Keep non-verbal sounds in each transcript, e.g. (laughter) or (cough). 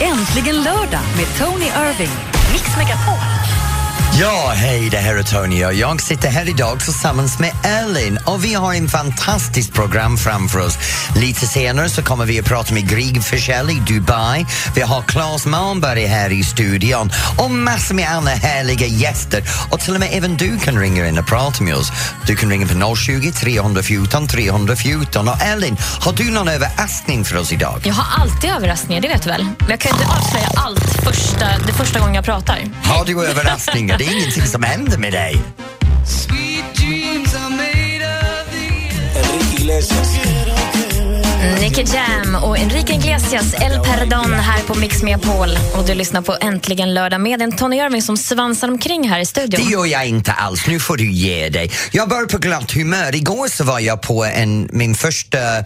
Äntligen lördag med Tony Irving. Mix Megapol. Ja, hej, det här är Tony och jag sitter här idag tillsammans med Elin och vi har en fantastiskt program framför oss. Lite senare så kommer vi att prata med Grieg Forssell i Dubai. Vi har Claes Malmberg här i studion och massor med andra härliga gäster och till och med även du kan ringa in och prata med oss. Du kan ringa på 020 314 314 och Elin, har du någon överraskning för oss idag? Jag har alltid överraskningar, det vet du väl? Men jag kan ju inte avslöja allt första, det första gången jag pratar. Har du överraskningar? Det är ingenting som händer med dig. Enrique Iglesias. Nicky Jam och Enrique Iglesias El Perdon här på Mix Megapol. Och du lyssnar på Äntligen lördag med en Tony Irving som svansar omkring här i Det studion. gör jag inte alls. Nu får du ge dig. Jag var på glatt humör. Igår så var jag på en, min första eh,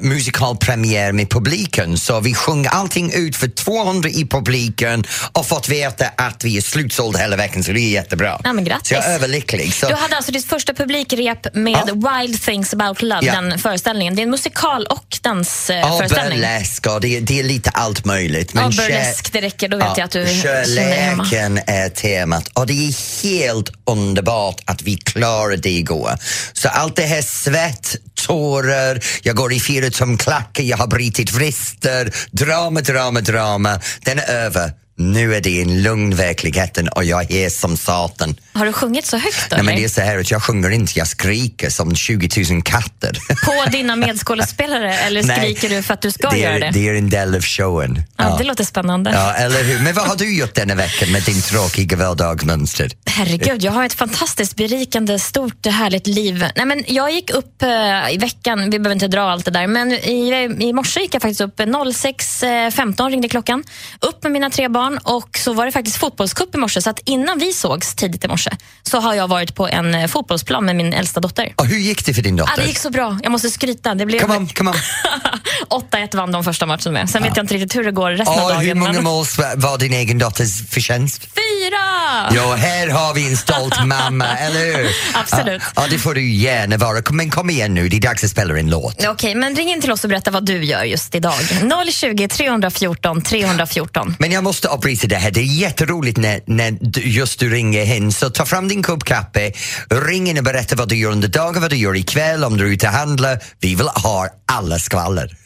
musikalpremiär med publiken. Så vi sjöng allting ut för 200 i publiken och fått veta att vi är slutsålda hela veckan, så det är jättebra. Ja, men grattis. Så jag är överlycklig. Så, Du hade alltså ditt första publikrep med Wild Things About Love, Ja. den föreställningen. Det är en musikal och ja, dansföreställning. burlesk och det, det är lite allt möjligt. Ja, kär- burlesk, det räcker. Då vet jag att du känner dig hemma. Kärleken är temat och det är helt underbart att vi klarade det igår. Så allt det här svett, tårar, jag går i fyra tum klackar, jag har brutit vrister, drama, drama, drama. Den är över. Nu är det en lugn verkligheten och jag är som satan. Har du sjungit så högt då? Nej, men det eller? är så här att jag sjunger inte, jag skriker som 20 000 katter. På dina medskådespelare eller (laughs) Nej, skriker du för att du ska det är, göra det? Det är en del av showen. Ja, Det låter spännande. Ja, eller hur? Men vad har du gjort denna veckan med din tråkiga vardagsmönster? Herregud, jag har ett fantastiskt berikande, stort, härligt liv. Nej, men jag gick upp eh, i veckan, vi behöver inte dra allt det där, men i, i morse gick jag faktiskt upp eh, 06.15 ringde klockan. Upp med mina tre barn och så var det faktiskt fotbollscup i morse, så att innan vi sågs tidigt i morse så har jag varit på en eh, fotbollsplan med min äldsta dotter. Och hur gick det för din Ah, dotter? det gick så bra, jag måste skryta. Det blev Come on, come on. 8-1 vann de första matchen med. Sen vet jag inte riktigt hur det går resten av Och dagen. hur många men- mål sv- var din egen dotters förtjänst? Fyra! Ja, här har vi en stolt mamma, eller hur? Absolut. Ja, ja, det får du gärna vara. Kom- Men kom igen nu, det är dags att spela en låt. Okej, men ring in till oss och berätta vad du gör just idag. 020 314 314. Men jag måste avbryta det här. Det är jätteroligt när, när du, just du ringer in. Så ta fram din kopp kaffe, ring in och berätta vad du gör under dagen, vad du gör ikväll, om du är ute och handlar. Vi vill ha alla skvaller.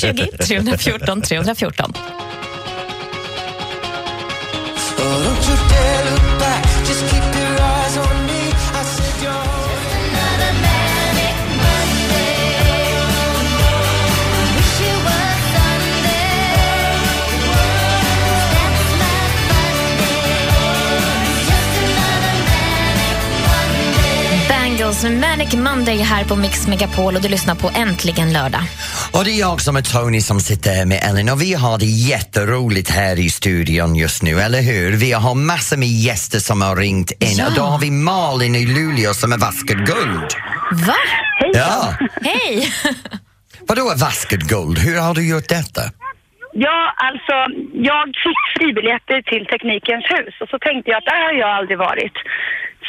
020 314 314. Bangles Manic Monday här på Mix Megapol och du lyssnar på Äntligen lördag. Och det är jag som är Tony som sitter här med Ellen och vi har det jätteroligt här i studion just nu, eller hur? Vi har massor med gäster som har ringt in Ja. och då har vi Malin i Luleå som är vaskad guld. Va? Ja. Hej! (laughs) Vadå är vaskad guld? Hur har du gjort detta? Ja, alltså, jag fick fribiljetter till Teknikens hus och så tänkte jag att där har jag aldrig varit.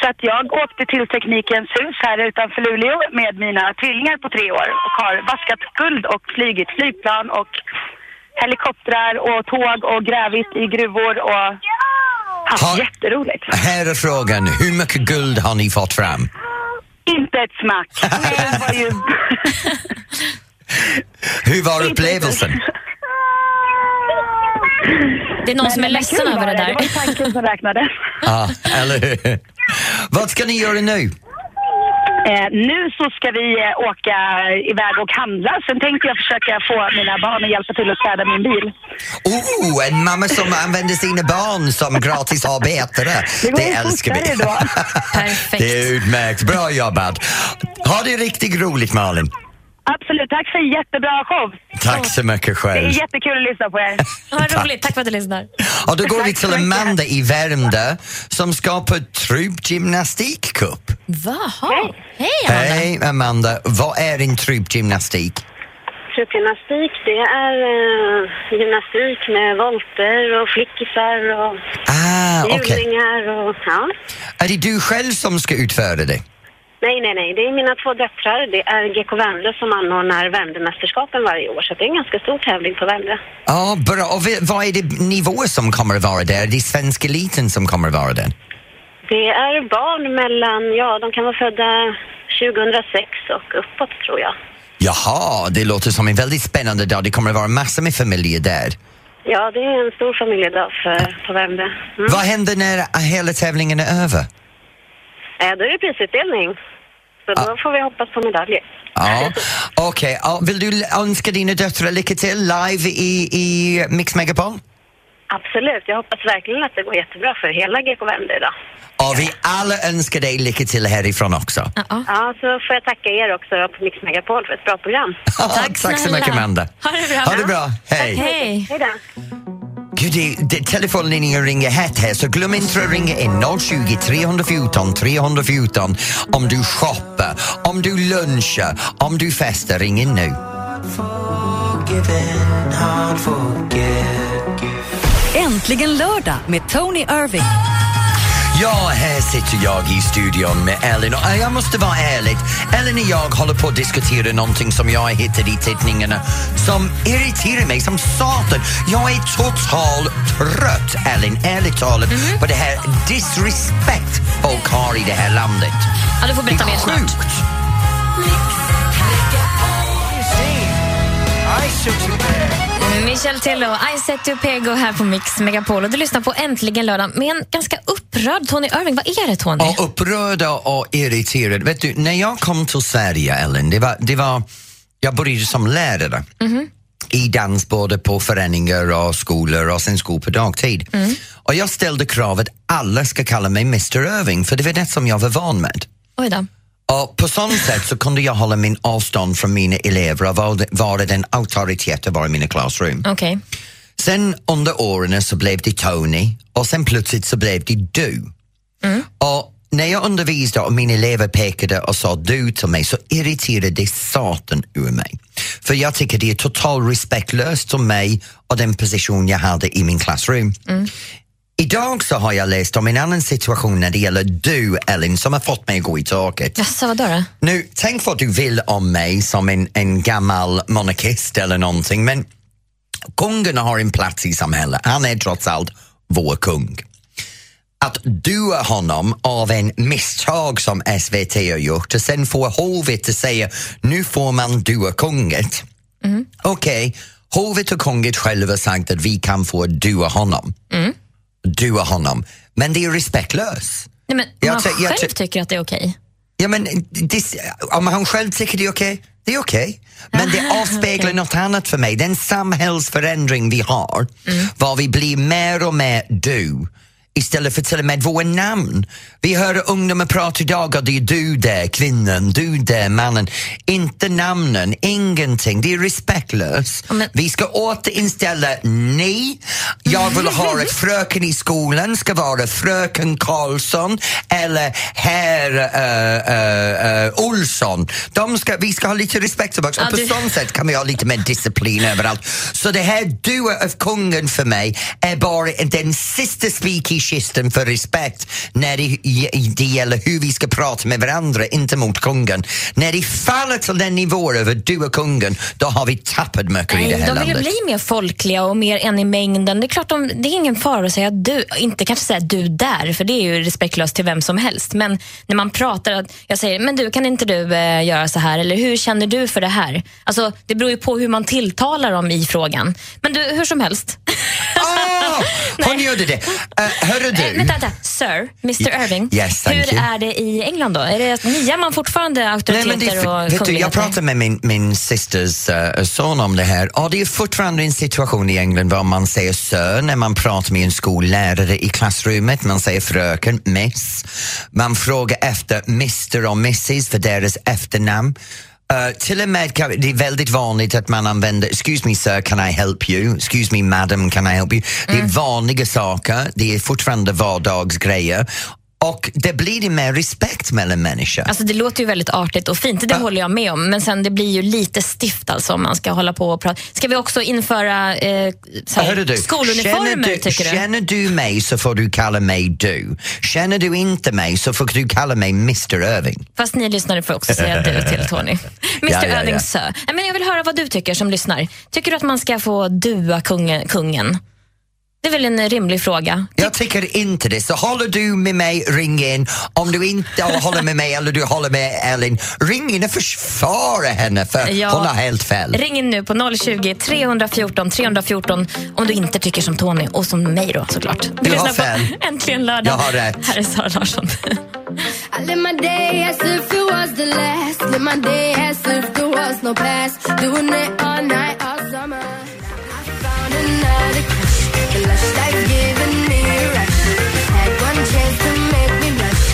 Så att jag åkte till Teknikens hus här utanför Luleå med mina tvillingar på tre år och har vaskat guld och flygit flygplan och helikoptrar och tåg och grävit i gruvor och haft Har- jätteroligt. Här är frågan, hur mycket guld har ni fått fram? Inte ett smack. Det var ju... Hur var upplevelsen? Det är någon som är ledsen kul över var det Det där. var ju tanken som räknades. Ja, eller hur? Vad ska ni göra nu? Eh, nu så ska vi eh, åka iväg och handla. Sen tänkte jag försöka få mina barn att hjälpa till att städa min bil. Oh, en mamma som använder sina barn som gratisarbetare. Det går ju älskar vi. fortare (laughs) då. Perfekt. Det är utmärkt. Bra jobbat. Ha det riktigt roligt, Malin. Absolut, tack för en jättebra show. Tack så mycket Det själv. är jättekul att lyssna på er. Vad roligt, tack för att du lyssnar. Och då går vi Tack till så mycket. Amanda i Värmdö som ska på truppgymnastikcup. Vaha. Hej, Amanda. Hej Amanda, vad är en truppgymnastik? Gruppgymnastik, det är eh, gymnastik med volter och flickisar och Ah, okej. hjulningar och ja. Är det du själv som ska utföra det? Nej, nej, nej. Det är mina två döttrar. Det är GK Värmdö som anordnar Värmdömästerskapen varje år, så det är en ganska stor tävling på Värmdö. Ja, bra. Och vi- vad är det nivåer som kommer att vara där? Är det svenska eliten som kommer att vara där? Det är barn mellan, ja, de kan vara födda 2006 och uppåt tror jag. Jaha, det låter som en väldigt spännande dag. Det kommer att vara massor med familjer där. Mm. Ja, det är en stor familjedag för, på Värmdö. Mm. Vad händer när hela tävlingen är över? Eh, Då är det prisutdelning. Så då får vi hoppas på medaljer. (laughs) Ja, okej. Ja, vill du l- önska dina döttrar lycka till live i, i Mix Megapol? Absolut, jag hoppas verkligen att det går jättebra för hela GK Värmdö idag. Och vi alla önskar dig lycka till härifrån också. Ja. Ja, så får jag tacka er också då på Mix Megapol för ett bra program. (laughs) Tack så snälla. mycket, Amanda. Ha det bra. Ha det bra. Hej. Hej. Hej då! Gud, det, det, telefonlinjen ringer hett här, så glöm inte att ringa in 020 314 314 om du shoppar, om du lunchar, om du festar. Ring in nu. Äntligen lördag med Tony Irving. Ja, här sitter jag i studion med Ellen och eh, jag måste vara ärlig. Ellen och jag håller på att diskutera någonting som jag hittade i tidningarna som irriterar mig som satan. Jag är totalt trött, Ellen, ärligt talat, Mm-hmm. på det här disrespect folk har i det här landet. Ja, du får Det är berätta mer snart. sjukt. Michel Tello, I set you pego här på Mix Megapol. Och du lyssnar på Äntligen lördag med en ganska upprörd Tony Irving. Vad är det Tony? Och upprörda och irriterade. Vet du, när jag kom till Sverige, Ellen, det var, det var, jag började som lärare i dans både på föreningar och skolor och sen skol på dagtid. Och jag ställde kravet alla ska kalla mig Mr Irving för det var det som jag var van med. Oj då. Och på sånt sätt så kunde jag hålla min avstånd från mina elever och vara- vara den auktoritet jag var i mina klassrum. Okej. Sen under åren så blev det Tony och sen plötsligt så blev det du. Och när jag undervisade och mina elever pekade och sa du till mig så irriterade det satan ur mig. För jag tycker det är totalt respektlöst för mig och den position jag hade i min klassrum. Idag så har jag läst om en annan situation när det gäller du, Ellen, som har fått mig att gå i taket. Jaså, vadå då? Nu, tänk vad du vill om mig som en, en gammal monarkist eller någonting, men kungen har en plats i samhället. Han är trots allt vår kung. Att dua honom av en misstag som SVT har gjort och sen får hovet att säga nu får man dua kunget. Okej, hovet och kunget själva har sagt att vi kan få dua honom. Dua honom. Men det är respektlöst. Nej, men Jag man ty- jag själv ty- tycker att det är okej. Ja, men det, om han själv tycker det är okej, det är okej. Men det avspeglar något annat för mig. Den samhällsförändring vi har, Mm. var vi blir mer och mer du istället för till och med våra namn. Vi hör ungdomar prata idag och det är du där, kvinnan, du där, mannen. Inte namnen, ingenting. Det är respektlöst. Ja, men- Vi ska återinställa ni. Jag vill ha (laughs) att fröken i skolan ska vara fröken Karlsson eller herr uh, Olsson. De ska, vi ska ha lite respekt tillbaka och Ja, på du- sånt sätt kan vi ha lite mer disciplin överallt. Så det här du av kungen för mig är bara den sista spik i kistan för respekt när det, det gäller hur vi ska prata med varandra, inte mot kungen. När det faller till den nivån över du och kungen, då har vi tappat mycket i det Nej, här de vill ju landet. bli mer folkliga och mer en i mängden. Det är klart, de, det är ingen fara att säga du, inte kanske säga du där, för det är ju respektlöst till vem som helst. Men när man pratar, att jag säger, men du kan inte du eh, göra så här? Eller hur känner du för det här? Alltså, det beror ju på hur man tilltalar dem i frågan. Men du, hur som helst. (laughs) Ah, hon gjorde det. Uh, hörru Eh, du. (laughs) vänta, vänta, sir, Mr Irving. Yes, thank hur you. är det i England då? Är det niar man fortfarande Nej, auktoriteter men det är, för- och vet du, jag kungligheter? pratade med min, min systers eh, son om det här och det är fortfarande en situation i England var man säger sir när man pratar med en skollärare i klassrummet. Man säger fröken, miss. Man frågar efter mr och mrs för deras efternamn. Eh, till och med, kan- det är väldigt vanligt att man använder excuse me sir, can I help you? Excuse me Mm. madam, can I help you? Det är vanliga saker, det är fortfarande vardagsgrejer. och det blir ju mer respekt mellan människor. Alltså det låter ju väldigt artigt och fint, det håller jag med om. Men sen det blir ju lite stift alltså om man ska hålla på och prata. Ska vi också införa eh, så här, Hörru du, skoluniformer känner du, tycker du? Känner du mig så får du kalla mig du. Känner du inte mig så får du kalla mig Mr Irving. Fast ni lyssnare får också säga du (laughs) till Tony. Mr Ja, ja, ja. Öding sö. Nej, men Jag vill höra vad du tycker som lyssnar. Tycker du att man ska få dua kungen? kungen? Det är väl en rimlig fråga. Jag tycker inte det, så håller du med mig, ring in. Om du inte håller med mig eller du håller med Elin, ring in och försvara henne för Ja. hon har helt fel. Ring in nu på 020 314 314 om du inte tycker som Tony och som mig då såklart. har Du, lyssnar på fel. Äntligen lördag. Jag har rätt. Här är Sara Larsson. I live my day as if it was the last. Live my day as if there was no past. Doing it all night, all summer. I found another crush. The lush life giving me a rush. Had one chance to make me blush.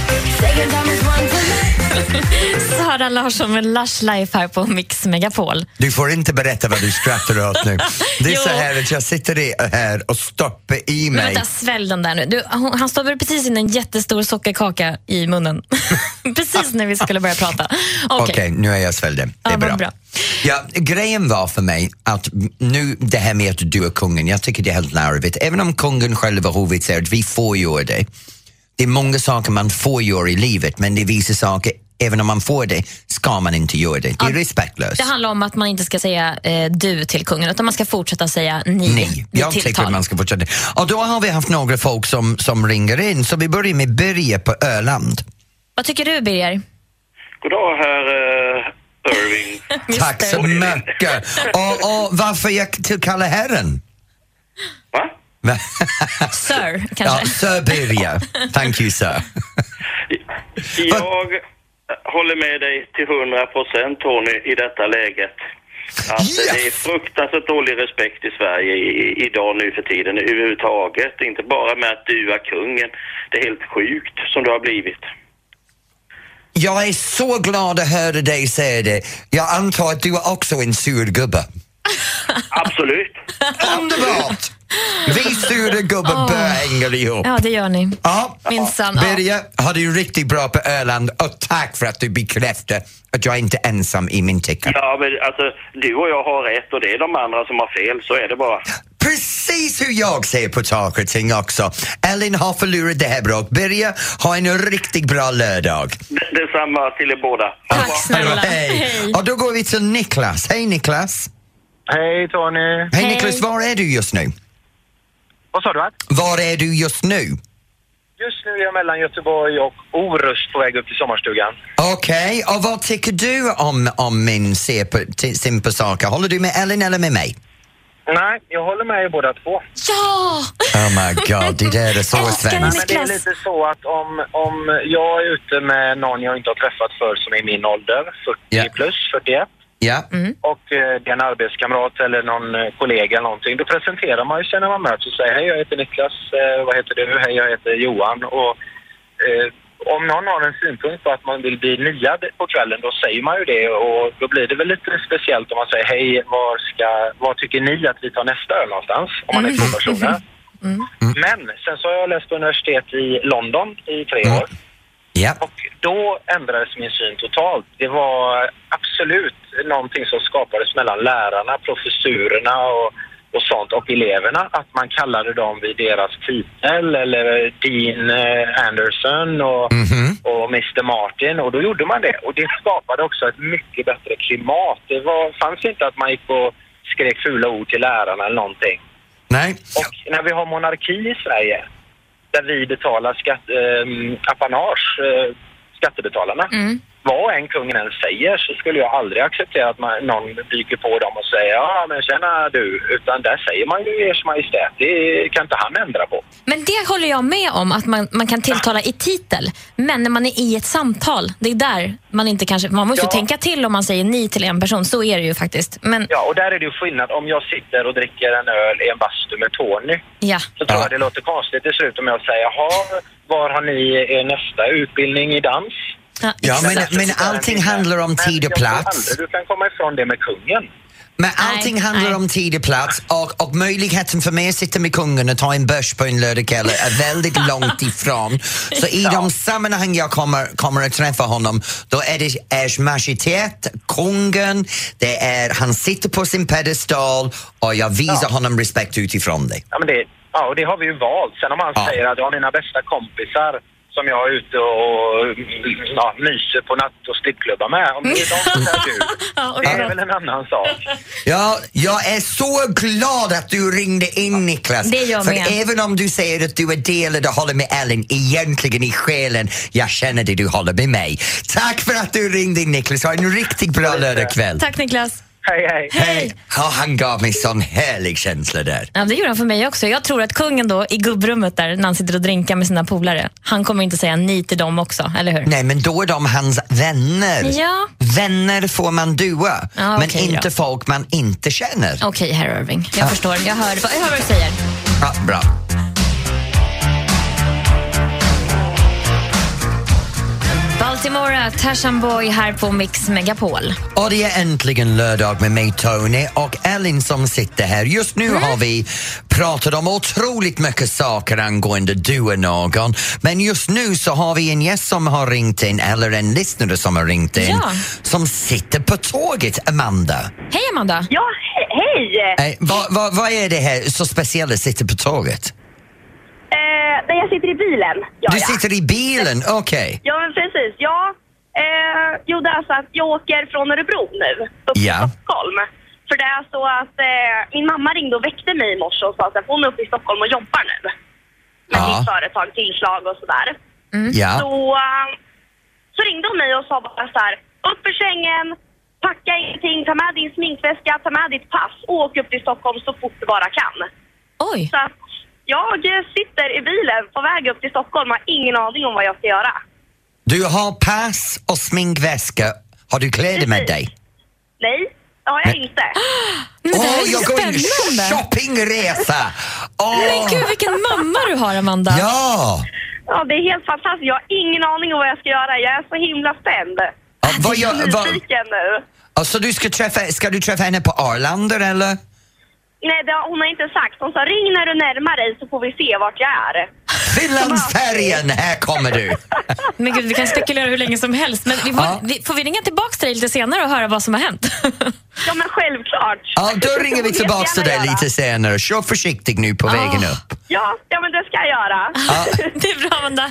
Second time is one too many. Sara Larsson med Lush Life här på Mix Megapol. Du får inte berätta vad du skrattar åt nu. Det är så (laughs) Jo. här att jag sitter i, här och stoppar i Men mig. vänta, svälj den där nu. Du, hon- han stoppade precis in en jättestor sockerkaka i munnen. (laughs) precis när vi skulle börja prata. Okej. Okej, nu är jag svälld. Det är Ja, vad bra. bra. Ja, grejen var för mig att nu det här med att du är kungen, jag tycker det är helt larvigt. Även om kungen själv har huvudet säger att vi får göra det. Det är många saker man får göra i livet men det visar saker, även om man får det, ska man inte göra det. Det är respektlöst. Det handlar om att man inte ska säga eh, du till kungen utan man ska fortsätta säga ni. Nej, vid jag tycker tilltal. man ska fortsätta. Och då har vi haft några folk som, som ringer in, så vi börjar med Börje på Öland. Vad tycker du Birger? Goddag herr eh, Irving. Tack så (laughs) mycket! Och, och varför jag tillkallar herren? Va? Sir, Ja, kanske? Sir Birger. Thank you, sir. Jag håller med dig till 100 procent Tony i detta läget. Att Det är Yes! fruktansvärt dålig respekt i Sverige i- idag nu för tiden överhuvudtaget. Inte bara med att du är kungen. Det är helt sjukt som du har blivit. Jag är så glad att höra dig säga det. Jag antar att du är också en sur gubbe. Absolut. Underbart! Vi sura gubbar bör hänga ihop. Ja, det gör ni. Ja. Minsann. Ja. Birger, har du riktigt bra på Öland och tack för att du bekräftar att jag inte är ensam i min tyckan. Ja, men alltså du och jag har rätt och det är de andra som har fel. Så är det bara. Precis hur jag ser på saker och ting också. Ellen har förlorat det här bra. Birger, ha en riktigt bra lördag. Det- Detsamma till er båda. Tack snälla. Hej. Hej. Och då går vi till Niklas. Hej Niklas. Hej Tony! Hej Hej. Niklas, var är du just nu? Vad sa du? Att? Var är du just nu? Just nu är jag mellan Göteborg och Orust på väg upp till sommarstugan. Okej, och vad tycker du om, om min se på, t- syn på saker? Håller du med Ellen eller med mig? Nej, jag håller med er båda två. Ja! Oh my god, det där är så Älskar Nej, svenskt. men det är Niklas. lite så att om, om jag är ute med någon jag inte har träffat förr som är min ålder, 40 Ja. plus, 41, Ja. och eh, det är en arbetskamrat eller någon eh, kollega eller någonting, då presenterar man ju sig när man möts och säger hej jag heter Niklas, eh, vad heter du, hej jag heter Johan och eh, om någon har en synpunkt på att man vill bli niad på kvällen då säger man ju det och då blir det väl lite speciellt om man säger hej var ska, vad tycker ni att vi tar nästa öl någonstans om man är Mm. två personer. Men sen så har jag läst på universitet i London i tre år. ja. Och då ändrades min syn totalt. Det var absolut någonting som skapades mellan lärarna, professorerna och, och sånt och eleverna. Att man kallade dem vid deras titel eller Dean eh, Anderson och, Mhm. och Mr Martin och då gjorde man det. Och det skapade också ett mycket bättre klimat. Det var, fanns inte att man gick och skrek fula ord till lärarna eller någonting. Nej. Och när vi har monarki i Sverige, där vi betalar skatt, ehm, apanage, eh, skattebetalarna, Mm. vad en kungen än säger så skulle jag aldrig acceptera att man, någon dyker på dem och säger ja men tjena du, utan där säger man ju ers majestät, det kan inte han ändra på. Men det håller jag med om, att man, man kan tilltala i titel. Men när man är i ett samtal, det är där man inte kanske... Man måste ju Ja. tänka till om man säger ni till en person, så är det ju faktiskt. Men Ja, och där är det ju skillnad om jag sitter och dricker en öl i en bastu med Tony. ja. Så tror Ja. jag det låter konstigt till slut om jag säger jaha, var har ni er nästa utbildning i dans? Ja, Ja, men, exakt. men allting handlar om tid och Men jag tror plats. aldrig Du kan komma ifrån det med kungen. Men allting Nej, handlar nej. om tid och plats och, och möjligheten för mig att sitta med kungen och ta en bärs på en lördagkväll är (laughs) väldigt långt ifrån. Så i de sammanhang jag kommer, kommer att träffa honom, då är det ers majestet, kungen, det är, han sitter på sin pedestal och jag visar honom respekt utifrån det. Ja, men det, ja, och det har vi ju valt. Sen om han Ja. säger att jag har mina bästa kompisar som jag är ute och mm, ja, myser på natt och strippklubbar med. Om det är de som är du, Ja, och det är bra. väl en annan sak. Ja, jag är så glad att du ringde in Niklas. Det är jag För med. även om du säger att du är delad och håller med Ellen, egentligen i själen, jag känner det, du håller med mig. Tack för att du ringde in Niklas, ha en riktigt bra lördagkväll. Tack Niklas. Hej, hej. Hej! Ja, han gav mig sån härlig känsla där. Ja, det gjorde han för mig också. Jag tror att kungen då i gubbrummet där när han sitter och drinkar med sina polare, han kommer inte säga nej till dem också, eller hur? Nej, men då är de hans vänner. Ja. Vänner får man dua, Ja, men okej då. inte folk man inte känner. Okej, herr Irving. Jag förstår. Jag hör, jag hör vad du säger. Ja, bra. Baltimore, Tarzan Boy här på Mix Megapol. Och det är äntligen lördag med mig Tony och Elin som sitter här. Just nu har vi pratat om otroligt mycket saker angående du och någon. Men just nu så har vi en gäst som har ringt in, eller en lyssnare som har ringt in, Ja. som sitter på tåget, Amanda. Hej Amanda! Ja, he- hej! Eh, vad, vad, vad är det här så speciellt, att sitta på tåget? Eh, nej, jag sitter i bilen. Ja, Du ja. sitter i bilen, okej. ja men precis. Ja. Eh, jo, det är alltså att jag åker från Örebro nu, upp till Ja. Stockholm. För det är så att eh, min mamma ringde och väckte mig i morse och sa att hon är uppe i Stockholm och jobbar nu. Med Ja. sitt företag, tillslag och sådär. Så, Mm. Ja. eh, så ringde hon mig och sa bara så här, upp ur sängen, packa ingenting, ta med din sminkväska, ta med ditt pass och åk upp till Stockholm så fort du bara kan. Oj! Så att jag sitter i bilen på väg upp till Stockholm och har ingen aning om vad jag ska göra. Du har pass och sminkväska. Har du kläder med dig? Nej, det har jag Nej. inte. Men det Åh, här är ju jag går in spännande! shoppingresa! Men Åh, gud vilken mamma du har Amanda! ja! Ja, det är helt fantastiskt. Jag har ingen aning om vad jag ska göra. Jag är så himla spänd. Ja, vad Jag gör, är vad, nyfiken nu. alltså du ska, träffa, ska du träffa henne på Arlanda eller? Nej, det har, hon har inte sagt. Hon sa ring när du närmar dig så får vi se vart jag är. Finlandsfärjan, här kommer du! Men gud, vi kan spekulera hur länge som helst. Men vi får, Ja. vi, får vi ringa tillbaka till dig lite senare och höra vad som har hänt? (laughs) Ja, men självklart. Ja, då ringer vi Det tillbaks till ska jag dig göra. lite senare. Kör försiktigt nu på vägen upp. Ja, ja, men det ska jag göra. Ja. det är bra Amanda.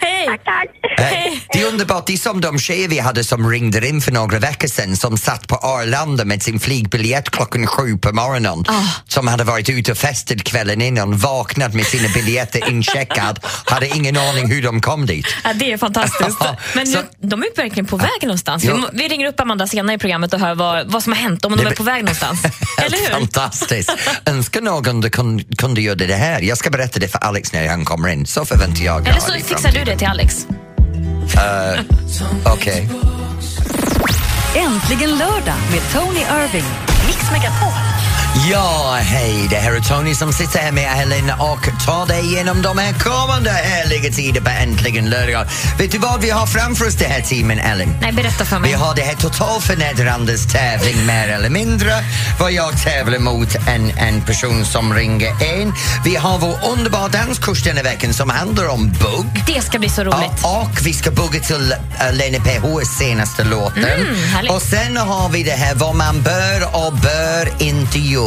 Hej! Tack, tack. Eh, Det är underbart, det är som de tjejer vi hade som ringde in för några veckor sedan som satt på Arlanda med sin flygbiljett klockan sju på morgonen. Ah. Som hade varit ute och festat kvällen innan, vaknat med sina biljetter incheckad, hade ingen aning hur de kom dit. Ja, det är fantastiskt. Men Så- nu, de är ju verkligen på väg någonstans. Vi, Ja. må- vi ringer upp Amanda senare i programmet och hör vad, vad som har hänt, om de Det är blir- på väg någonstans. Eller (laughs) Helt hur? fantastiskt! Önskar någon du kun, kunde göra det här. Jag ska berätta det för Alex när han kommer in, så förväntar jag mig Eller så det i fixar du framtiden. det till Alex. Okej. Äntligen lördag med Tony Irving. Mix Megapol. Ja, hej, det här är Tony som sitter här med Helen och tar dig igenom de här kommande härliga tiderna på Äntligen lördag. Vet du vad vi har framför oss den här timmen, Ellen? Nej, berätta för Vi mig. har det här totalförnedrandes tävling mer eller mindre. Vad jag tävlar mot en, en person som ringer in. Vi har vår underbara danskurs denna veckan som handlar om bugg. Det ska bli så roligt. Ja, och vi ska bugga till eh, Lena PHs senaste låten. Mm, härligt. och sen har vi det här vad man bör och bör inte göra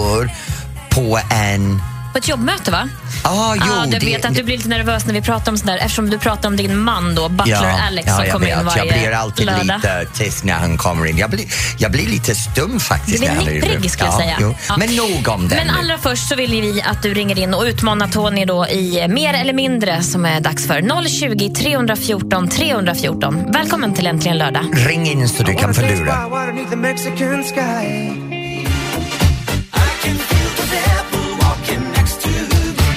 på en... På ett jobbmöte, va? Ah, jo, ja, du vet att du blir lite nervös när vi pratar om sånt där eftersom du pratar om din man då, Butler Alex, ja, som jag kommer vet. in varje Jag blir alltid lördag. lite tyst när han kommer in. Jag blir, jag blir lite stum faktiskt. Du blir när han är i nipprig, rummet. skulle jag ja, säga. Jo. Ja. Men nog om det Men nu. allra först så vill ju vi att du ringer in och utmanar Tony då i Mer eller mindre som är dags för 020 314 314. Välkommen till Äntligen lördag. Ring in så du kan förlora.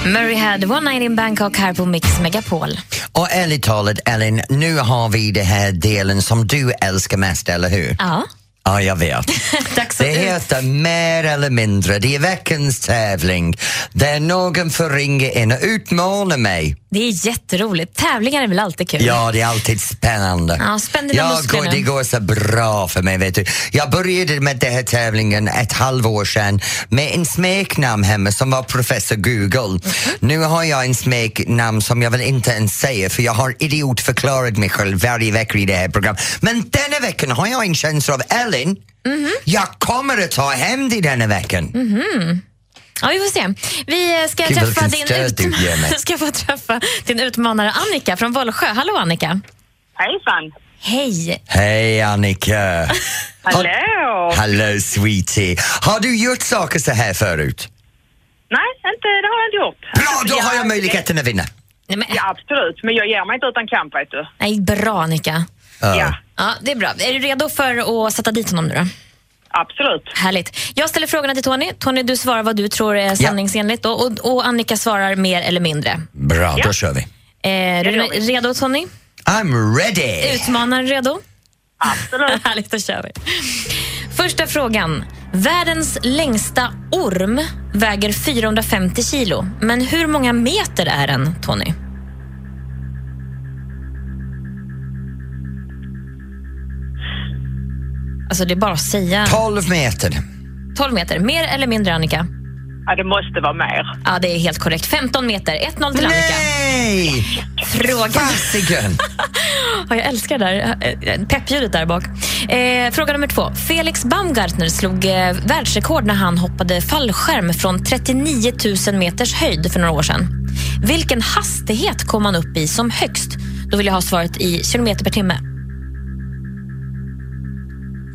Murray Head, One Night in Bangkok här på Mix Megapol. Och ärligt talat, Ellen, nu har vi det här delen som du älskar mest, eller hur? Ja. (laughs) Ja, jag vet. Dags att Det heter mer eller mindre. Det är veckans tävling där någon får ringa in och utmana mig. Det är jätteroligt. Tävlingar är väl alltid kul? Ja, det är alltid spännande. Ja, spänn dina jag muskler går, nu. Det går så bra för mig, vet du. Jag började med den här tävlingen ett halvår sedan med en smeknamn hemma som var Professor Google. Mhm. Nu har jag en smeknamn som jag vill inte ens säga för jag har idiotförklarat mig själv varje vecka i det här programmet. Men denna veckan har jag en känsla av Ellen, Mhm. jag kommer att ta hem dig denna veckan. Ja, vi får se. Vi eh, ska Gud, träffa, vilken din stöd du ger mig. utma- (laughs) ska få träffa din utmanare Annika från Vollsjö. Hallå Annika! Hejsan! Hej! Hej Annika! Hallå! Hallå sweetie! Har du gjort saker så här förut? Nej, inte, det har jag inte gjort. Bra, då Ja, har jag möjligheten att vinna. Nej, men, Ja, absolut. Men jag ger mig inte utan kamp, vet du. nej, bra Annika. Ja. Ja, Ja, det är bra. Är du redo för att sätta dit honom nu då? absolut. Härligt. Jag ställer frågorna till Tony. Tony, du svarar vad du tror är sanningsenligt då, och, och Annika svarar mer eller mindre. Bra, då Ja. kör vi. Eh, är du gör vi. redo Tony? I'm ready! Utmanaren redo? Absolut. (laughs) Härligt, då kör vi. Första frågan. Världens längsta orm väger 450 kilo. Men hur många meter är den, Tony? Alltså det är bara att säga 12 meter. 12 meter. Mer eller mindre, Annika? Ja, det måste vara mer. Ja, det är helt korrekt. 15 meter. 1-0 till Annika. Nej! Frågan... Fasiken! Ja, jag älskar det där eh, peppljudet där bak. Eh, fråga nummer två. Felix Baumgartner slog eh, världsrekord när han hoppade fallskärm från 39 000 meters höjd för några år sedan. Vilken hastighet kom han upp i som högst? Då vill jag ha svaret i kilometer per timme.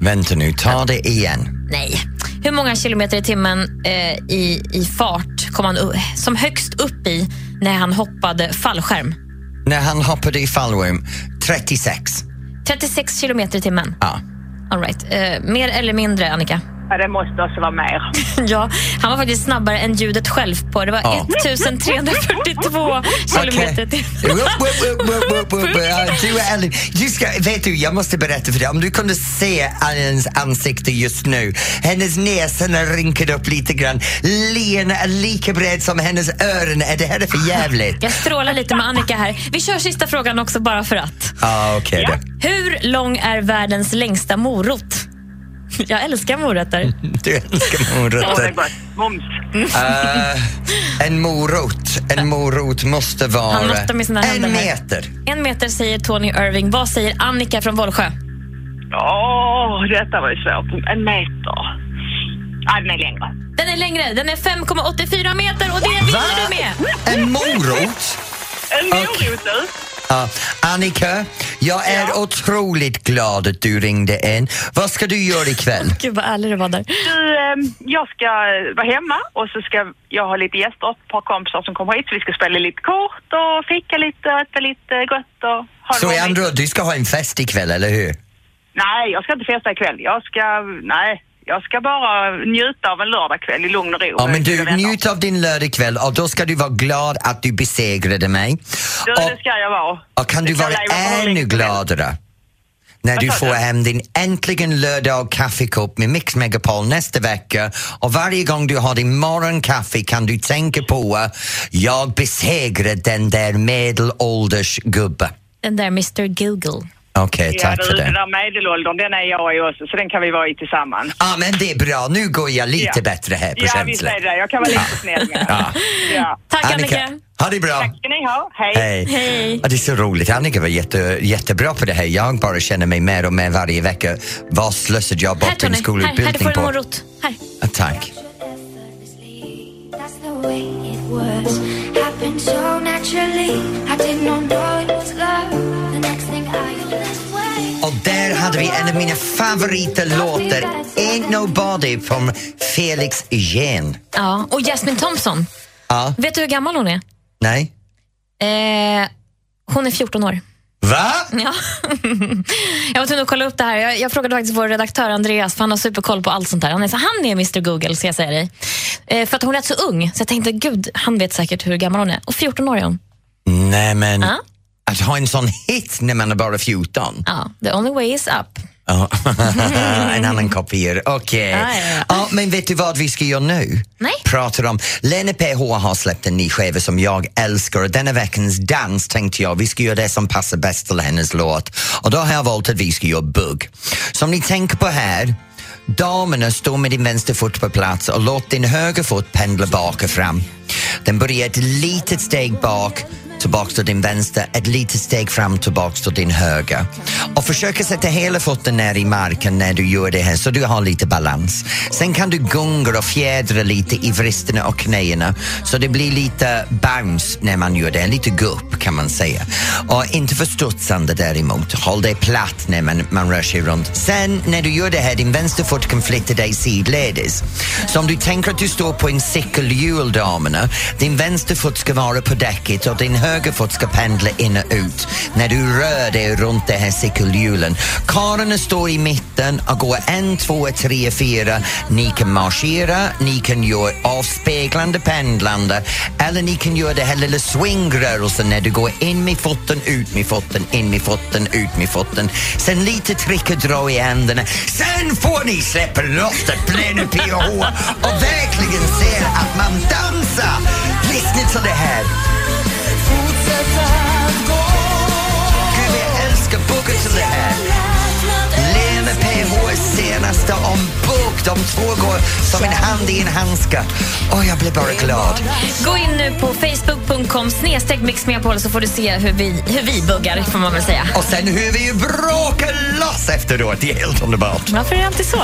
Vänta nu, ta det igen. Nej. Hur många kilometer i timmen eh, i, i fart kom han u- som högst upp i när han hoppade fallskärm? När han hoppade i fallrum, 36. 36 kilometer i timmen. Ja. All right. eh, mer eller mindre, Annika? Ja, det måste också vara mer. Ja, han var faktiskt snabbare än ljudet själv på. Det var Ja. 1342 kilometer i Okej. timmen. Upp, upp, upp, upp, upp, upp. Ja, Du är Ellen. Du ska, vet du, jag måste berätta för dig. Om du kunde se Ellens ansikte just nu. Hennes näsa är rynkad upp lite grann. Lena är lika bred som hennes öron. Är det här är för jävligt? Jag strålar lite med Annika här. Vi kör sista frågan också bara för att. Ah, Okej då. Hur lång är världens längsta morot? Jag älskar morötter. Du älskar morötter. Mums. Eh, en morot. En morot måste Han vara måste med sina händer en här. meter. En meter säger Tony Irving. Vad säger Annika från Vollsjö? Åh, detta var ju svårt. En meter. Ja, den är längre. Den är längre. Den är 5,84 meter och det vinner du med. En morot? En morot du. Ja. Annika, jag är otroligt glad att du ringde in. Vad ska du göra ikväll? Gud vad ärlig du var där. Du, ehm, jag ska vara hemma och så ska jag ha lite gäster, ett par kompisar som kommer hit. Så vi ska spela lite kort och fika lite och äta lite gott och ha Så i roligt. andra ord, du ska ha en fest ikväll, eller hur? Nej, jag ska inte festa ikväll. Jag ska, nej, jag ska bara njuta av en lördagkväll i lugn och ro. Ja, med men du, mina vänner. njut av din lördagkväll och då ska du vara glad att du besegrade mig. Du, det Och, ska jag vara. och kan du Det kan vara jag vara ännu lite. gladare när du Vad sa får du? hem din äntligen lördag kaffekopp med Mix Megapol nästa vecka och varje gång du har din morgonkaffe kan du tänka på eh, jag besegrade den där medelålders gubbe. Den där Mr Google. Okej, Ja, tack för du, den det. där medelåldern, den är jag i också, så den kan vi vara i tillsammans. Ja, ah, men det är bra. Nu går jag lite Ja. bättre här på Ja, visst känslan. är det. Jag kan vara lite snäll med Ja. ja. Tack Annika. ha det bra. Tack ska ni ha. Hej. Hej. Ja, det är så roligt. Annika var jätte, jättebra på det här. Jag bara känner mig mer och mer varje vecka. Vad slösade jag Här bort min Tony. Här, här du skolutbildning får en på? morot. Här. Ja, Tack. That's the way it was. Happened so naturally. I did not know it was love. The next thing I knew this way. Och där hade vi en av mina favoritlåtar, Ain't Nobody, från Felix Jen. Ja, och Jasmine Thompson. Ja, Vet du hur gammal hon är? nej. Eh, hon är 14 år. Va? Ja. jag var tvungen att kolla upp det här. Jag, jag frågade faktiskt vår redaktör Andreas, för han har superkoll på allt sånt här. Han är, så, han är Mr Google, ska jag säga dig. Eh, för att hon är rätt så ung, så jag tänkte gud, han vet säkert hur gammal hon är. Och 14 år är hon. Nej men, Ja. att ha en sån hit när man är bara 14. Ja, the only way is up. Ja. (laughs) en annan kopier. Okej. Ja, ja, ja. Ja, men vet du vad vi ska göra nu? Nej. Pratar om... Lena PH har släppt en ny skiva som jag älskar och denna veckans dans tänkte jag vi ska göra det som passar bäst till hennes låt. Och då har jag valt att vi ska göra bugg. Så om ni tänker på här Damerna står med din vänster fot på plats och låt din höger fot pendla bak och fram. Den börjar ett litet steg bak tillbaks till din vänster, ett litet steg fram tillbaks till din höger. Och försök att sätta hela foten ner i marken när du gör det här så du har lite balans. Sen kan du gunga och fjädra lite i vristerna och knäna så det blir lite bounce när man gör det, lite gupp kan man säga. Och inte för studsande däremot, håll dig platt när man, man rör sig runt. Sen när du gör det här, din vänster fot kan flytta dig sidledes. Så om du tänker att du står på en cykelhjul, damerna, din vänster fot ska vara på däcket och din höger fot ska pendla in och ut när du rör dig runt det här cykelhjulen. Karlarna står i mitten och går en, två, tre, fyra. Ni kan marschera, ni kan göra avspeglande pendlande eller ni kan göra det här lilla swingrörelsen när du går in med foten, ut med foten, in med foten, ut med foten. Sen lite trick och dra i händerna. Sen får ni släppa loss det plena PH och verkligen se att man dansar. Lyssna till det här. Gud, jag älskar Booker till det här. Lena PHs senaste om Book. De två går som en hand i en handske. Åh, jag blir bara glad. Gå in nu på facebook.com snedstreck mixmegapol så får du se hur vi, hur vi buggar, får man väl säga. Och sen hur vi ju bråkar loss efteråt. Det är helt underbart. Varför är det alltid så?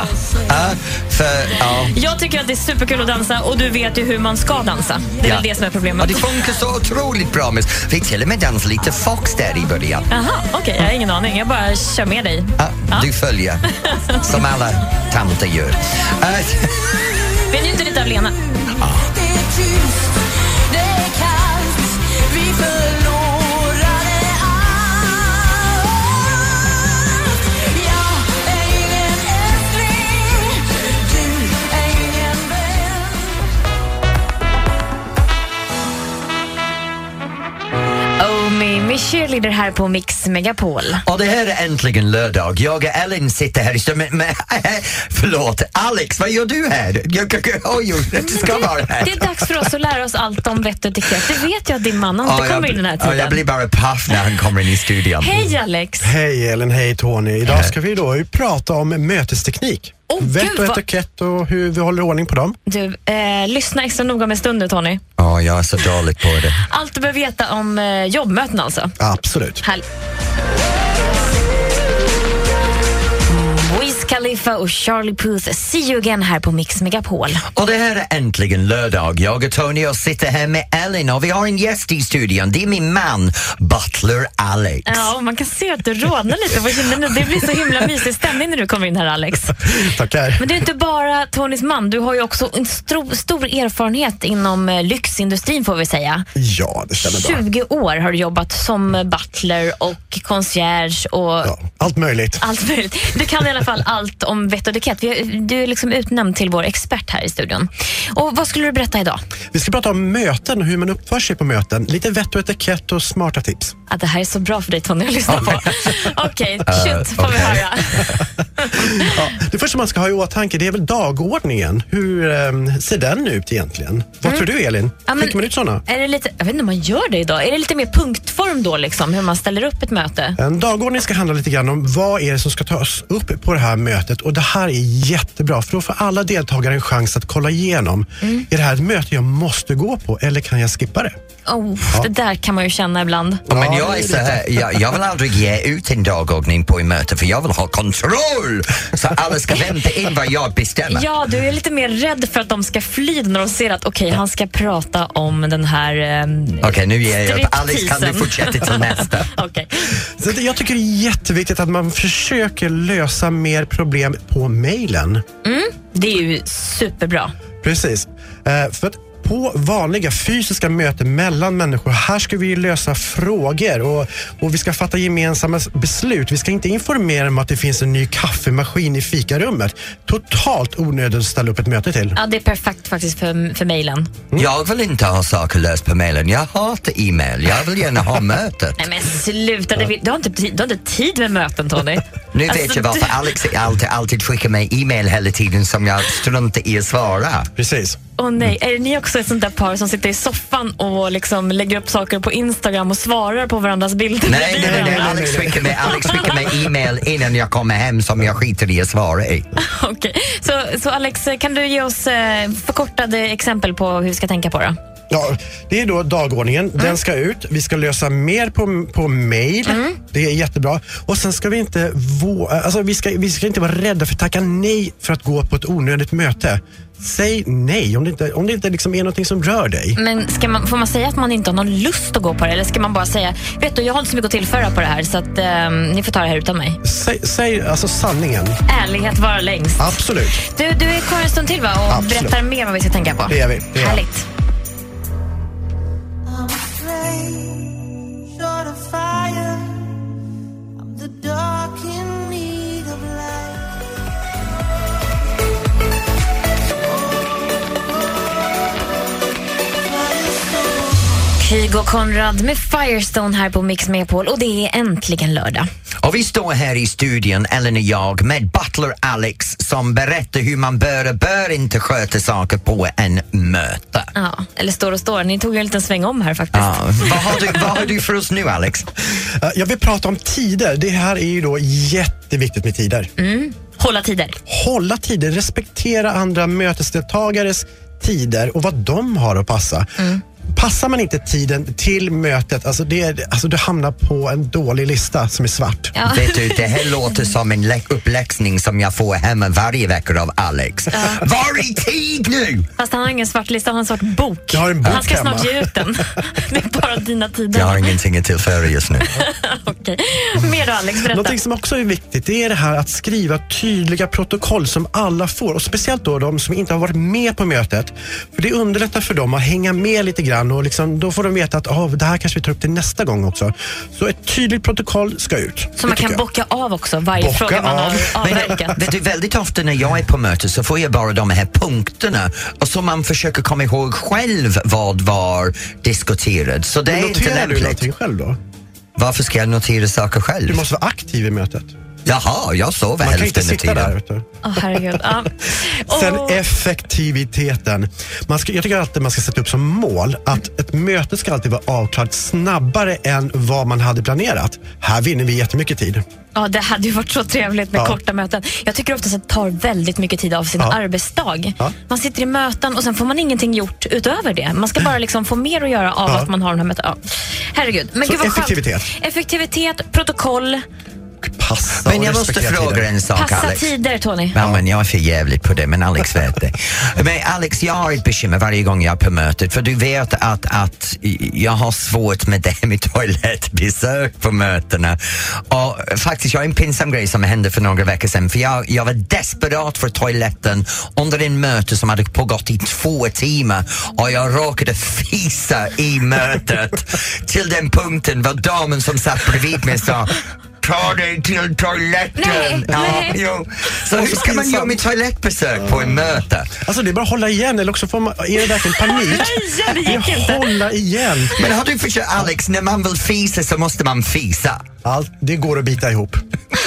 Ja, för, ja. Jag tycker att det är superkul att dansa och du vet ju hur man ska dansa. Det är Ja. väl det som är Ja, problemet. det funkar så otroligt bra. Miss. Vi till och med dansade lite Fox där i början. Aha, okej, jag har ingen aning. Jag bara kör med dig. Ja, Du följer, som alla tanter gör. Eh, Vi är ju inte lite av Lena. Omi med Oh, cheerleader här på Mix Megapol. Och det här är äntligen lördag. Jag och Ellen sitter här i studion. Men- men- (laughs) Förlåt, Alex, vad gör du här? Jag, jag, jag, oj, jag ska vara här. Det är dags för oss att lära oss allt om vett och etikett. Det vet jag att din man Ja, inte jag kommer blir- in den här ja, jag blir tiden. bara paff när han kommer in i studion. Hej Alex! Hej Ellen, hej Tony. Idag ska vi då ju prata om mötesteknik. Åh, gud, Vett och vad- etikett och hur vi håller ordning på dem. Du, eh, lyssna extra noga med stund nu Tony. Ja, jag är så dålig på det. Allt du behöver veta om eh, jobbmöten alltså. Absolut. Härligt. Wiz Khalifa och Charlie Puth, see you again här på Mix Megapol. Och det här är äntligen lördag. Jag och Tony och sitter här med Ellen och vi har en gäst i studion. Det är min man, Butler Alex. Ja, och man kan se att du rodnar lite på kinderna. Det blir så himla mysig stämning när du kommer in här Alex. Tackar. Men det är inte bara Tonys man, du har ju också en stro, stor erfarenhet inom eh, lyxindustrin får vi säga. Ja, det stämmer bra. 20 år har du jobbat som butler och concierge och Ja, allt möjligt. allt möjligt. Du kan i alla fall allt om vett och etikett. Vi har- Du är liksom utnämnd till vår expert här i studion. Och vad skulle du berätta idag? Vi ska prata om möten och hur man uppför sig på möten. Lite vett och etikett och smarta tips. Att det här är så bra för dig Tony att lyssna på. (laughs) Okej, Eh, shoot får vi okej. höra. Ja, det första man ska ha i åtanke det är väl dagordningen. Hur eh, ser den ut egentligen? Vad tror du Elin? Ja, men- Skickar man ut sådana? Är det lite, jag vet inte om man gör det idag. Är det lite mer punktform då, liksom, hur man ställer upp ett möte? En dagordning ska handla lite grann om vad är det som ska tas upp på det här mötet och det här är jättebra för då får alla deltagare en chans att kolla igenom. Är det här ett möte jag måste gå på eller kan jag skippa det? Oh, Det där kan man ju känna ibland. Ja, men Ja, jag det är är så här, jag, jag vill aldrig ge ut en dagordning på ett möte för jag vill ha kontroll! Så alla ska vänta in vad jag bestämmer. Ja, du är lite mer rädd för att de ska fly när de ser att okej, han ska prata om den här... ehm, Okej, nu ger jag upp. Alice, kan du stripteasen. fortsätta till nästa? (laughs) Okej. Så det- jag tycker det är jätteviktigt att man försöker lösa mer problem på mejlen. Det Mm, är ju superbra. Precis. Eh, för att på på vanliga fysiska möten mellan människor. Här ska vi lösa frågor och, och vi ska fatta gemensamma s- beslut. Vi ska inte informera om att det finns en ny kaffemaskin i fikarummet. Totalt onödigt att ställa upp ett möte till. Ja, det är perfekt faktiskt för, för mejlen. Jag vill inte ha saker löst på mejlen. Jag hatar e-mail. Jag vill gärna ha mötet. Nej men sluta, det vill, du, har inte, tid- du har inte tid med (laughs) möten Tony. Nu vet Alltså, jag varför du- Alex alltid, alltid skickar mig e-mail hela tiden som jag struntar i att svara. Precis. Åh nej, är ni också ett sånt där par som sitter i soffan och liksom lägger upp saker på Instagram och svarar på varandras bilder? Nej, nej, nej, nej. Alex skickar mig, Alex skickar mig e-mail innan jag kommer hem som jag skiter i att svara i. (laughs) Okej. Så, så Alex, kan du ge oss eh, förkortade exempel på hur vi ska tänka på det? Ja, det är då dagordningen. Den ska ut. Vi ska lösa mer på, på mail. Det är jättebra. Och sen ska vi inte vå- alltså vi ska, vi ska inte vara rädda för att tacka nej för att gå på ett onödigt möte. Säg nej om det inte, om det inte liksom är någonting som rör dig. Men ska man, får man säga att man inte har någon lust att gå på det? Eller ska man bara säga, vet du, jag har inte så mycket att tillföra på det här så att eh, ni får ta det här utan mig. Säg, säg alltså sanningen. Ärlighet vara längst. Absolut. Du, du är kvar en stund till va? Och Absolut. berättar mer vad vi ska tänka på. Det gör vi. Det gör vi. Härligt. Kygo Konrad med Firestone här på Mix Megapol och det är äntligen lördag. Och vi står här i studion, Ellen och jag, med Butler Alex som berättar hur man bör och bör inte sköta saker på en möte. Ja, eller står och står. Ni tog ju en liten sväng om här faktiskt. Ja. Vad, har du, vad har du för oss nu, Alex? Eh, Jag vill prata om tider. Det här är ju då jätteviktigt med tider. Hålla tider. hålla tider, respektera andra mötesdeltagares tider och vad de har att passa. Passar man inte tiden till mötet, alltså, det är, alltså du hamnar på en dålig lista som är svart. Ja. Vet du, det här låter som en lä- uppläxning som jag får hemma varje vecka av Alex. Var i tid nu! Fast han har ingen svart lista, han har en svart bok. Jag har en bok han ska hemma. snart ge (laughs) ut den. Det är bara dina tider. Jag har ingenting att tillföra just nu. Okej. Mer då Alex, berätta. Någonting som också är viktigt det är det här att skriva tydliga protokoll som alla får och speciellt då de som inte har varit med på mötet. För Det underlättar för dem att hänga med lite grann och liksom, då får de veta att oh, det här kanske vi tar upp till nästa gång också. Så ett tydligt protokoll ska ut. Som Det man tycker kan jag. bocka av också, varje Bocka fråga man av. har avverkat. Vet du, väldigt ofta när jag är på möte så får jag bara de här punkterna och så man försöker komma ihåg själv vad var diskuterat. Så det är inte Noterar du lämpligt. någonting själv då? Varför ska jag notera saker själv? Du måste vara aktiv i mötet. Jaha, jag sover Man kan inte hälften av sitta tiden. där. Vet du. Åh herregud. Ja. (laughs) Sen Åh. effektiviteten. Man ska, jag tycker alltid man ska sätta upp som mål att ett möte ska alltid vara avklarat snabbare än vad man hade planerat. Här vinner vi jättemycket tid. Ja, det hade ju varit så trevligt med Ja. korta möten. Jag tycker oftast att det tar väldigt mycket tid av sin Ja. arbetsdag. Ja. Man sitter i möten och sen får man ingenting gjort utöver det. Man ska bara liksom få mer att göra av Ja. att man har de här mötena. Ja. Herregud. Men Så gud vad skönt. effektivitet. Effektivitet, protokoll, Passa Men och jag måste respektera fråga tiden. en sak passa Alex. tider Tony. Ja, men jag är för jävligt på det, men Alex vet det. Men Alex, jag har ett bekymmer varje gång jag är på mötet, för du vet att, att jag har svårt med (laughs) det här med toalettbesök på mötena. Och faktiskt, jag har en pinsam grej som hände för några veckor sedan, för jag, jag var desperat för toaletten under en möte som hade pågått i två timmar och jag råkade fisa i mötet till den punkten var damen som satt bredvid mig sa Ta dig till toaletten! Nej, ja, nej. Jo. Så hur ska man göra med toalettbesök på en möte? Alltså det är bara att hålla igen eller också får man, är det verkligen panik. Ja, det gick (laughs) är inte. hålla igen. Men har du försökt Alex, när man vill fisa så måste man fisa. Allt, det går att bita ihop.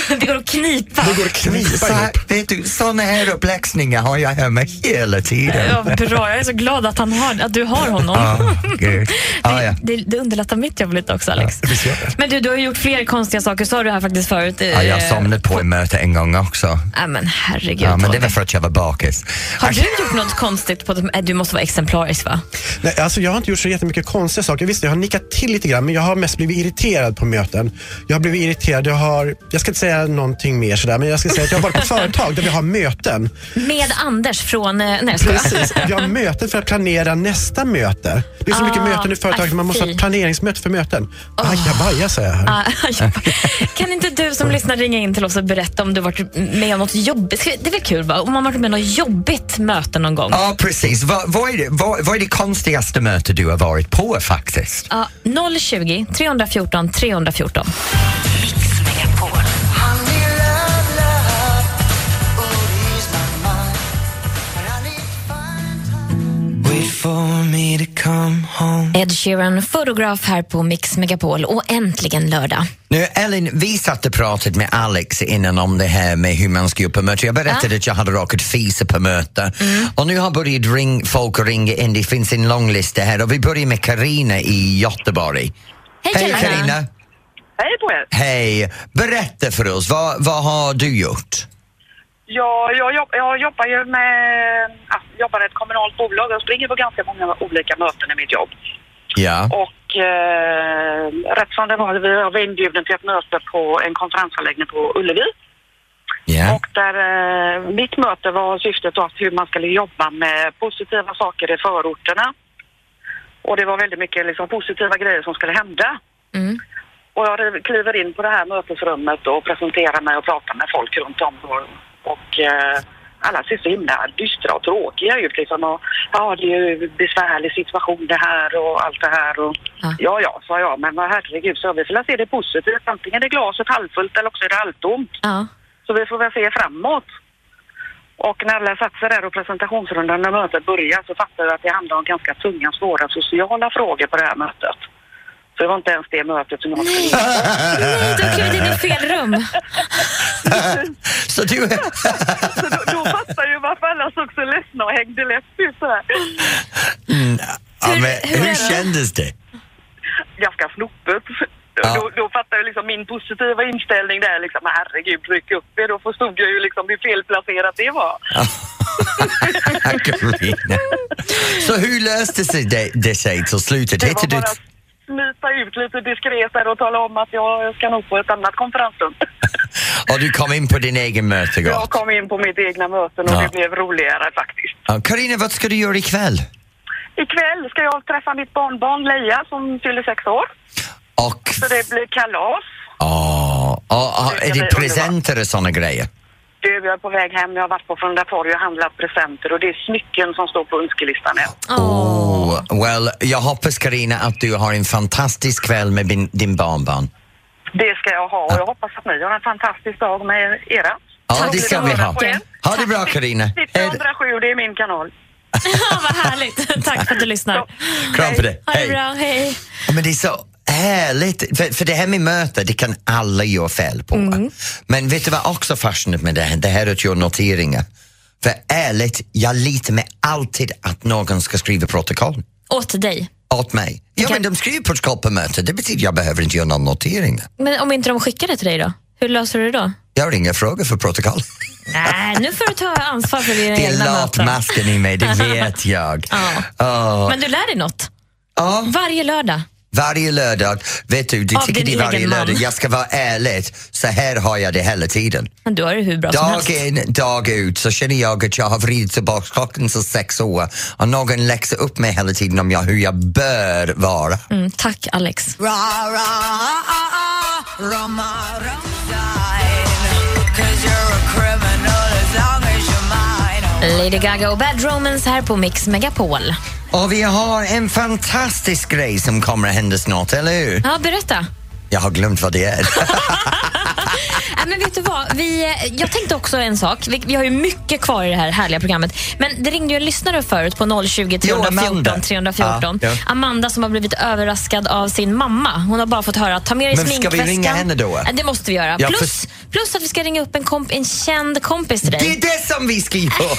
Det går att knipa. Det går att Så knipa här, ihop. vet du, såna här uppläxningar har jag hemma hela tiden. Ja, bra, jag är så glad att, han har, att du har honom. Ja, gud. Ja, ja. Det, det, det underlättar mitt jobb lite också Alex. visst gör det. Men du, du har ju gjort fler konstiga saker, sa du här faktiskt förut. eh, Ja, jag somnade på ett möte en gång också. Ja, men herregud. Ja, men det Tony. var för att jag var bakis. Har du gjort något konstigt? på ett- Nej, Du måste vara exemplarisk va? Nej, alltså jag har inte gjort så jättemycket konstiga saker. Visst, jag har nickat till lite grann, men jag har mest blivit irriterad på möten. Jag har blivit irriterad. Jag har, jag ska inte säga säga någonting mer sådär, men jag ska säga att jag har varit på företag där vi har möten. Med Anders från... eh, Nej, jag skojar. (laughs) Precis, vi har möten för att planera nästa möte. Det är så mycket Ah, möten i företaget, man måste ha fy. ett planeringsmöte för möten. Ajabaja säger jag här. (laughs) Ah, jag bara- kan inte du som lyssnar ringa in till oss och berätta om du varit med om något jobbigt? Ska vi- Det är väl kul va? Om man varit med om något jobbigt möte någon gång. Ja, precis. Vad, vad, är det, vad, vad är det konstigaste möte du har varit på faktiskt? Ja, 020 314 314. Ed Sheeran, fotograf här på Mix Megapol och äntligen lördag. Nu, Ellen, vi satt och pratade med Alex innan om det här med hur man ska göra på möte. Jag berättade att jag hade råkat fisa på möte. Mm. Och nu har börjat ring, folk att ringa in. Det finns en lång lista här och vi börjar med Karina i Göteborg. Hej, Carina. Carina. Hej på er! Hej! Berätta för oss, vad, vad har du gjort? Jag, jag, jobb, jag jobbar ju med, ja, jobbar i ett kommunalt bolag. Jag springer på ganska många olika möten i mitt jobb. Ja. Och eh, rätt som det var, vi var inbjudna till ett möte på en konferensanläggning på Ullevi. Och där eh, mitt möte var syftet att hur man skulle jobba med positiva saker i förorterna. Och det var väldigt mycket liksom, positiva grejer som skulle hända. Och jag riv- kliver in på det här mötesrummet och presenterar mig och pratar med folk runt om. Och, och eh, alla ser så himla dystra och tråkiga ut liksom. Och, ja, det är ju besvärlig situation det här och allt det här. Och, ja, ja, sa jag, men vad herregud, så vi får väl se det positivt. Antingen är glaset halvfullt eller också är det halvtomt. Så vi får väl se framåt. Och när alla satt sig där och presentationsrundan när mötet började så fattade jag att det handlade om ganska tunga, svåra sociala frågor på det här mötet. Så det var inte ens det mötet som jag skulle Nej, du har klivit in i fel rum. (laughs) Så du... så (laughs) då, då fattar ju varför alla såg så ledsna och hängde läpp ut sådär. Mm, ja, men, hur är hur det? kändes det? (laughs) Ganska snoppet. Ja. Då, då fattade jag liksom min positiva inställning där liksom, "Men herregud, tryck upp er. Då förstod jag ju liksom hur felplacerat det var. Karina. Så hur löste sig det, det sig till slutet? Det Hittade du... var bara att smita ut lite diskret där och tala om att jag ska nog på ett annat konferensrum. Och du kom in på din egen möte, Jag kom in på mitt egna möten och Ja. det blev roligare faktiskt. Ja, Karina, vad ska du göra ikväll? Ikväll ska jag träffa mitt barnbarn Leia som fyller sex år. Och... Så det blir kalas. Ja, ja, Det är det ska bli presenter och sådana grejer? Du, jag är på väg hem. Jag har varit på Frölunda torg och handlat presenter och det är smycken som står på önskelistan än. Oh. Well, jag hoppas Karina att du har en fantastisk kväll med din, din barnbarn. Det ska jag ha och jag hoppas att ni har en fantastisk dag med era. Ja, det ska vi ha. Ha det bra Karina. 107, det är min kanal. (laughs) Vad härligt. Tack för att du lyssnar. Kram på dig. Ha det Hej. bra. Hej. Ja, Men det är så härligt, för, för det här med möten, det kan alla göra fel på. Mm. Men vet du vad också fascinerat med det här, det här att göra noteringar? För ärligt, jag litar mig alltid att någon ska skriva protokoll Åt dig. åt mig. Ja, men de skriver protokoll på möten, det betyder jag behöver inte göra någon notering. Men om inte de skickar det till dig då? Hur löser du det då? Jag har inga frågor för protokoll. Nej, nu får du ta ansvar för dina Det är egna möten. latmasken i mig, det (laughs) vet jag. Ja. Men du lär dig något. Ja. Varje lördag. Varje lördag, vet du, du Av tycker din det är varje egen man. lördag. Jag ska vara ärlig, så här har jag det hela tiden. Men du har det hur bra som Dag helst. in, dag ut så känner jag att jag har vridit tillbaka klockan till sex år och någon läxar upp mig hela tiden om jag, hur jag bör vara. Mm, tack Alex. ah, Lady Gaga och Bad Romance här på Mix Megapol. Och vi har en fantastisk grej som kommer att hända snart, eller hur? Ja, berätta. Jag har glömt vad det är. Nej, Äh, men vet du vad? Vi, eh, jag tänkte också en sak. Vi, vi har ju mycket kvar i det här härliga programmet. Men det ringde ju en lyssnare förut på 020 Jo, Amanda. 314 314. Ja, ja. Amanda som har blivit överraskad av sin mamma. Hon har bara fått höra ta med dig Men ska vi sminkväskan. ringa henne då? Ja, Det måste vi göra. Ja, för- plus, plus att vi ska ringa upp en, komp en känd kompis till dig. Det är det som vi ska göra!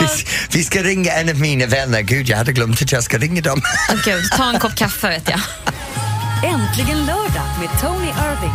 Vi- Vi ska ringa en av mina vänner. Gud, jag hade glömt att jag ska ringa dem. Åh, Gud, ta en kopp kaffe vet jag. Äntligen lördag med Tony Irving.